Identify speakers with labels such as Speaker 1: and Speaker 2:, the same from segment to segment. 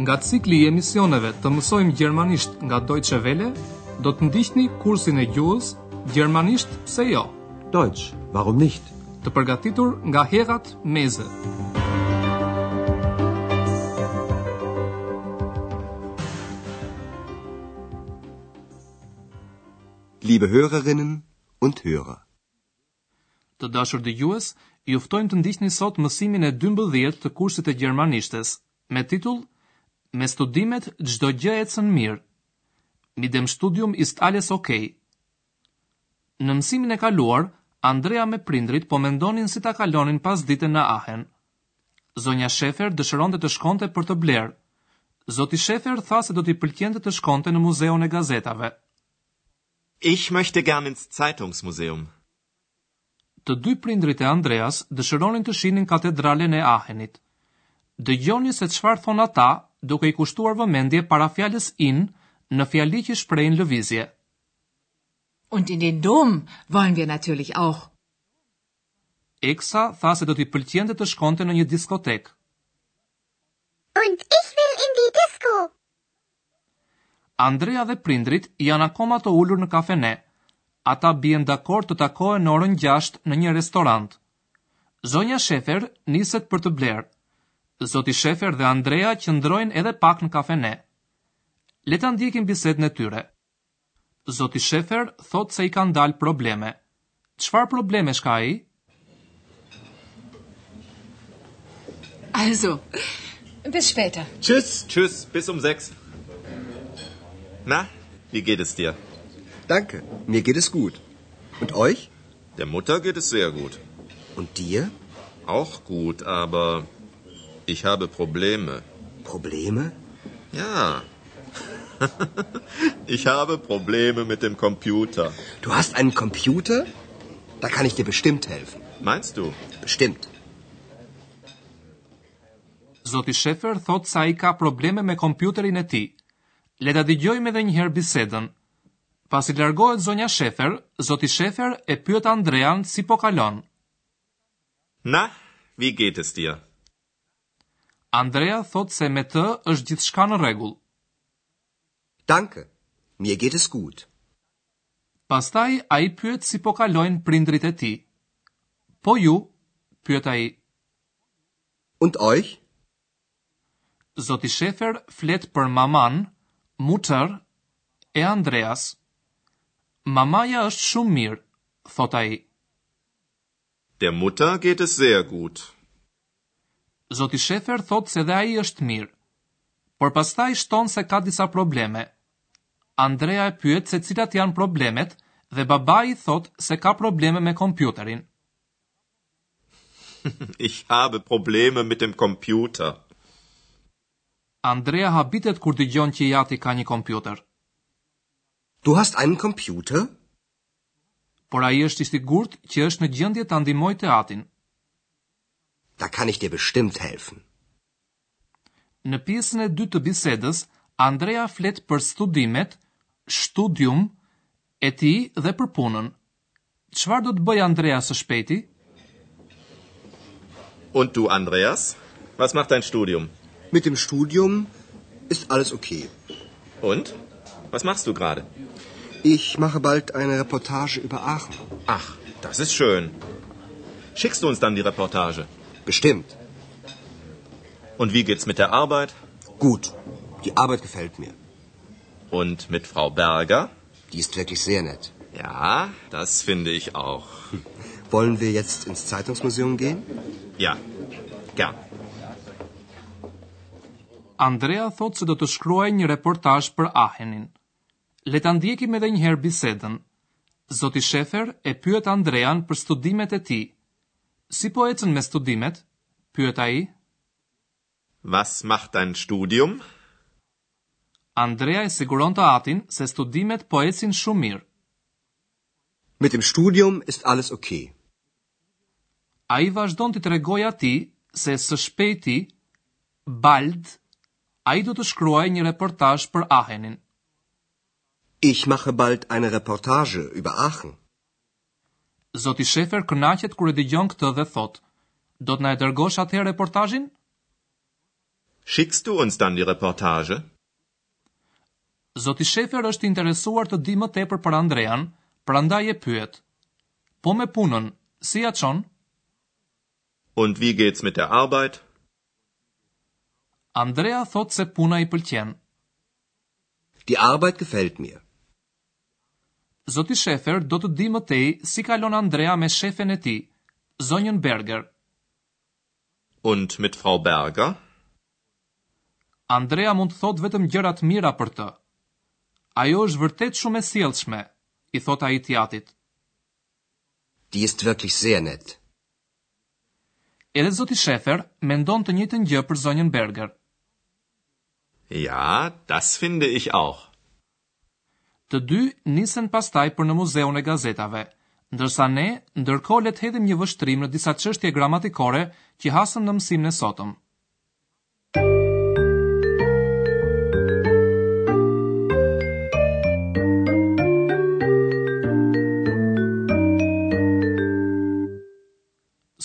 Speaker 1: Nga cikli i emisioneve të mësojmë gjermanisht nga Deutsche Welle, do të ndiqni kursin e gjuhës Gjermanisht pse jo,
Speaker 2: Deutsch, warum nicht?
Speaker 1: të përgatitur nga Herat Meze.
Speaker 3: Liebe Hörerinnen und Hörer,
Speaker 1: Të dashur dëgjues, ju ftojmë të ndiqni sot mësimin e 12 të kursit të gjermanishtes me titull Me studimet çdo gjë ecën mirë. Mit dem Studium ist alles okay. Në mësimin e kaluar, Andrea me prindrit po mendonin si ta kalonin pas ditën në Ahen. Zonja Shefer dëshironte të shkonte për të blerë. Zoti Shefer tha se do t'i pëlqente të shkonte në muzeun e gazetave.
Speaker 4: Ich möchte gern ins Zeitungsmuseum.
Speaker 1: Të dy prindrit e Andreas dëshironin të shihnin katedralen e Ahenit. Dëgjoni se çfarë thon ata, duke i kushtuar vëmendje para fjalës in në fjali që shprehin lëvizje.
Speaker 5: Und in den Dom wollen wir natürlich auch.
Speaker 1: Eksa tha se do t'i pëlqente të shkonte në një diskotek.
Speaker 6: Und ich will in die Disco.
Speaker 1: Andrea dhe prindrit janë akoma të ulur në kafene. Ata bien dakord të takohen në orën 6 në një restorant. Zonja Shefer niset për të blerë. Zoti Shefer dhe Andrea qëndrojnë edhe pak në kafene. Le ta ndjekim bisedën e tyre. Zoti Shefer thot se i kanë dalë probleme. Çfarë problemesh ka ai?
Speaker 5: Also, bis später.
Speaker 4: Tschüss. Tschüss, bis um sechs. Na, wie geht es dir?
Speaker 2: Danke, mir geht es gut. Und euch?
Speaker 4: Der Mutter geht es sehr gut.
Speaker 2: Und dir?
Speaker 4: Auch gut, aber ich habe Probleme.
Speaker 2: Probleme?
Speaker 4: Ja. ich habe Probleme mit dem Computer.
Speaker 2: Du hast einen Computer? Da kann ich dir bestimmt helfen.
Speaker 4: Meinst du?
Speaker 2: Bestimmt.
Speaker 1: Zoti Shefer thot se ai ka probleme me kompjuterin e tij. Le ta dëgjojmë edhe një herë bisedën. Pasi largohet zonja Shefer, zoti Shefer e pyet Andrean si po kalon.
Speaker 4: Na, wie geht es dir?
Speaker 1: Andrea thot se me të është gjithçka në rregull.
Speaker 2: Danke, mir geht es gut.
Speaker 1: Pastaj ai pyet si po kalojnë prindrit e tij. Po ju, pyet ai.
Speaker 2: Und euch?
Speaker 1: Zoti Shefer flet për maman, mutër e Andreas. Mamaja është shumë mirë, thot ai.
Speaker 4: Der Mutter geht es sehr gut.
Speaker 1: Zoti Shefer thot se dhe ai është mirë. Por pastaj shton se ka disa probleme. Andrea e pyet se cilat janë problemet dhe babai thot se ka probleme me kompjuterin.
Speaker 4: Ich habe Probleme mit dem Computer.
Speaker 1: Andrea habitet kur dëgjon që jati ka një kompjuter,
Speaker 2: Du hast einen Computer?
Speaker 1: por ai është i sigurt që është në gjendje ta ndihmojë të atin.
Speaker 2: Da kann ich dir bestimmt helfen.
Speaker 1: Në pjesën e dytë të bisedës, Andrea flet për studimet, studium, e ti dhe për punën. Çfarë do të bëj Andrea së shpejti?
Speaker 4: Und du, Andreas? Was macht dein Studium?
Speaker 2: Mit dem Studium ist alles okay.
Speaker 4: Und? Was machst du gerade?
Speaker 2: Ich mache bald eine Reportage über Aachen.
Speaker 4: Ach, das ist schön. Schickst du uns dann die Reportage?
Speaker 2: Bestimmt.
Speaker 4: Und wie geht's mit der Arbeit?
Speaker 2: Gut. Die Arbeit gefällt mir.
Speaker 4: Und mit Frau Berger?
Speaker 2: Die ist wirklich sehr nett.
Speaker 4: Ja, das finde ich auch.
Speaker 2: Wollen wir jetzt ins Zeitungsmuseum gehen?
Speaker 4: Ja, gern.
Speaker 1: Andrea thot se do të shkruaj një reportazh për Ahenin. Le ta ndjekim edhe një herë bisedën. Zoti Shefer e pyet Andrean për studimet e tij. Si po ecën me studimet? pyet ai.
Speaker 4: Was macht dein Studium?
Speaker 1: Andrea e siguron të atin se studimet po ecin shumë mirë.
Speaker 2: Mit dem Studium ist alles okay.
Speaker 1: A i vazhdon të tregoj ati se së shpejti, bald, a i do të shkruaj një reportazh për Ahenin.
Speaker 2: Ich mache bald eine Reportage über Aachen.
Speaker 1: Zoti Shefer kënaqet kur e dëgjon këtë dhe thot, do të na e dërgosh atë reportazhin?
Speaker 4: Schickst du uns dann die Reportage?
Speaker 1: Zoti Shefer është i interesuar të di më tepër për Andrean, prandaj e pyet. Po me punën, si ja çon?
Speaker 4: Und wie geht's mit der Arbeit?
Speaker 1: Andrea thot se puna i pëlqen.
Speaker 2: Die Arbeit gefällt mir.
Speaker 1: Zoti Shefer do të di më tej si kalon Andrea me shefen e tij, zonjën Berger.
Speaker 4: Und mit Frau Berger?
Speaker 1: Andrea mund të thot vetëm gjëra të mira për të. Ajo është vërtet shumë e sjellshme, i thot ai tjatit.
Speaker 2: Die ist wirklich sehr nett.
Speaker 1: Edhe zoti Shefer mendon të njëjtën gjë për zonjën Berger.
Speaker 4: Ja, das finde ich auch.
Speaker 1: Të dy nisen pastaj për në muzeun e gazetave, ndërsa ne ndërkohë le të hedhim një vështrim në disa çështje gramatikore që hasën në mësimin e sotëm.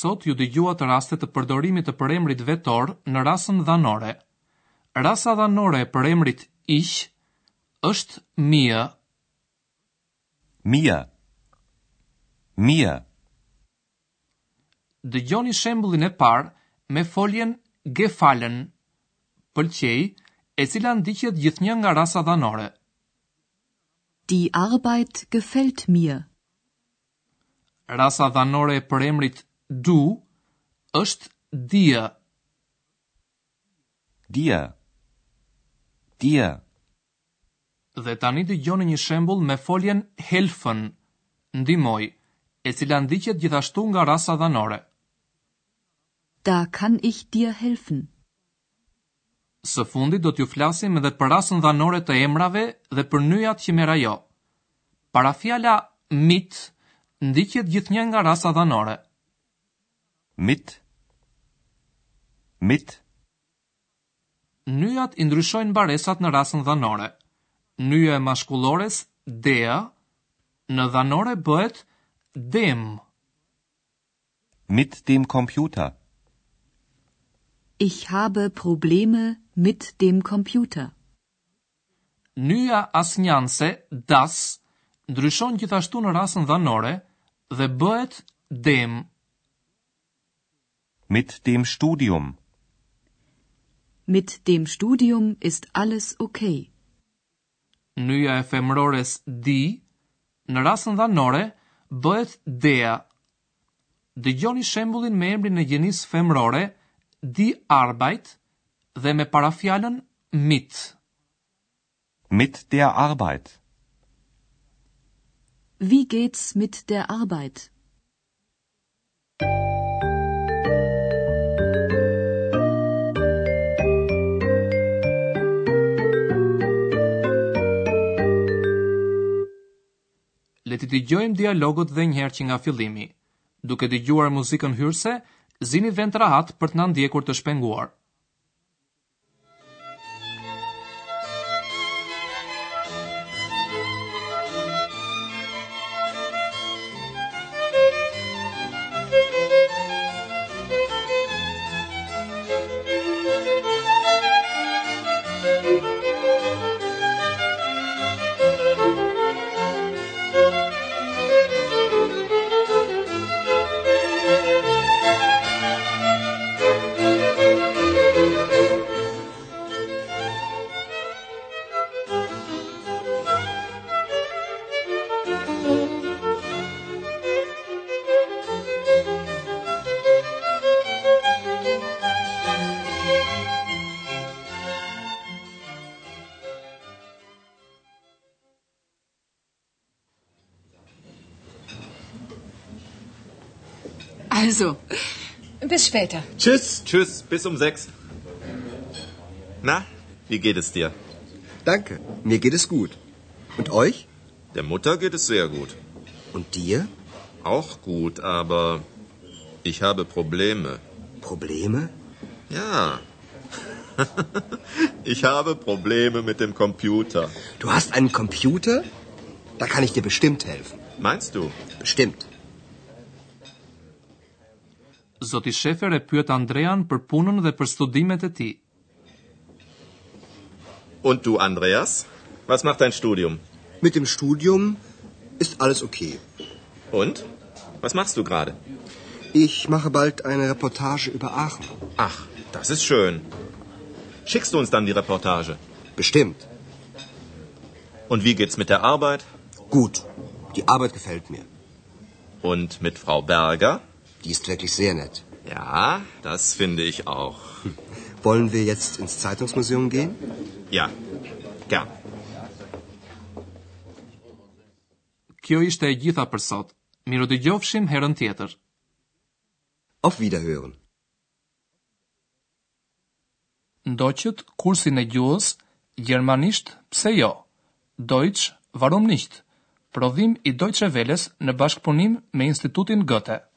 Speaker 1: sot ju dëgjuat raste të përdorimit të përemrit vetor në rasën dhanore. Rasa dhanore e përemrit iq është mia.
Speaker 7: Mia. Mia.
Speaker 1: Dëgjoni shembullin e parë me foljen gefallen, pëlqej, e cila ndiqet gjithnjë nga rasa dhanore.
Speaker 8: Die Arbeit gefällt mir.
Speaker 1: Rasa dhanore e përemrit du është dia.
Speaker 7: Dia. Dia.
Speaker 1: Dhe tani dëgjoni një shembull me foljen helfen, ndihmoj, e cila ndiqet gjithashtu nga rasa dhanore.
Speaker 8: Da kann ich dir helfen.
Speaker 1: Së fundi do t'ju flasim edhe për rasën dhanore të emrave dhe për nyjat që merr ajo. Parafjala mit ndiqet gjithnjë nga rasa dhanore
Speaker 7: mit mit
Speaker 1: Nyjat i ndryshojnë baresat në rasën dhanore. Nyja e mashkullores dea në dhanore bëhet dem.
Speaker 7: mit dem Computer.
Speaker 8: Ich habe Probleme mit dem Computer.
Speaker 1: Nyja asnjanse das ndryshon gjithashtu në rasën dhanore dhe bëhet dem
Speaker 7: mit dem Studium.
Speaker 8: Mit dem Studium ist alles okay.
Speaker 1: Nyja e femërores di në rasën dhanore bëhet dea. Dëgjoni shembullin me emrin e gjenisë femërore di arbeit dhe me parafjalën mit.
Speaker 7: Mit der Arbeit.
Speaker 8: Wie geht's mit der Arbeit?
Speaker 1: le të dëgjojmë dialogut dhe njëherë që nga fillimi. Duke dëgjuar muzikën hyrse, zini vend të rahat për të na ndjekur të shpenguar.
Speaker 5: Also, bis später.
Speaker 4: Tschüss. Tschüss, bis um sechs. Na, wie geht es dir?
Speaker 2: Danke, mir geht es gut. Und euch?
Speaker 4: Der Mutter geht es sehr gut.
Speaker 2: Und dir?
Speaker 4: Auch gut, aber ich habe Probleme.
Speaker 2: Probleme?
Speaker 4: Ja. ich habe Probleme mit dem Computer.
Speaker 2: Du hast einen Computer? Da kann ich dir bestimmt helfen.
Speaker 4: Meinst du?
Speaker 2: Bestimmt.
Speaker 1: Zoti Shefer e pyet Andrean për punën dhe për studimet e tij.
Speaker 4: Und du, Andreas? Was macht dein Studium?
Speaker 2: Mit dem Studium ist alles okay.
Speaker 4: Und? Was machst du gerade?
Speaker 2: Ich mache bald eine Reportage über Aachen.
Speaker 4: Ach, das ist schön. Schickst du uns dann die Reportage?
Speaker 2: Bestimmt.
Speaker 4: Und wie geht's mit der Arbeit?
Speaker 2: Gut. Die Arbeit gefällt mir.
Speaker 4: Und mit Frau Berger?
Speaker 2: Die ist wirklich sehr nett.
Speaker 4: Ja, das finde ich auch.
Speaker 2: Wollen wir jetzt ins Zeitungsmuseum gehen?
Speaker 4: Ja, gern.
Speaker 1: Kjo ishte e gjitha për sot. Miru të gjofshim herën tjetër.
Speaker 2: Auf Wiederhören.
Speaker 1: Ndoqët kursin e gjuhës Gjermanisht pse jo? Deutsch, warum nicht? Prodhim i Deutsche Welles në bashkëpunim me Institutin Goethe.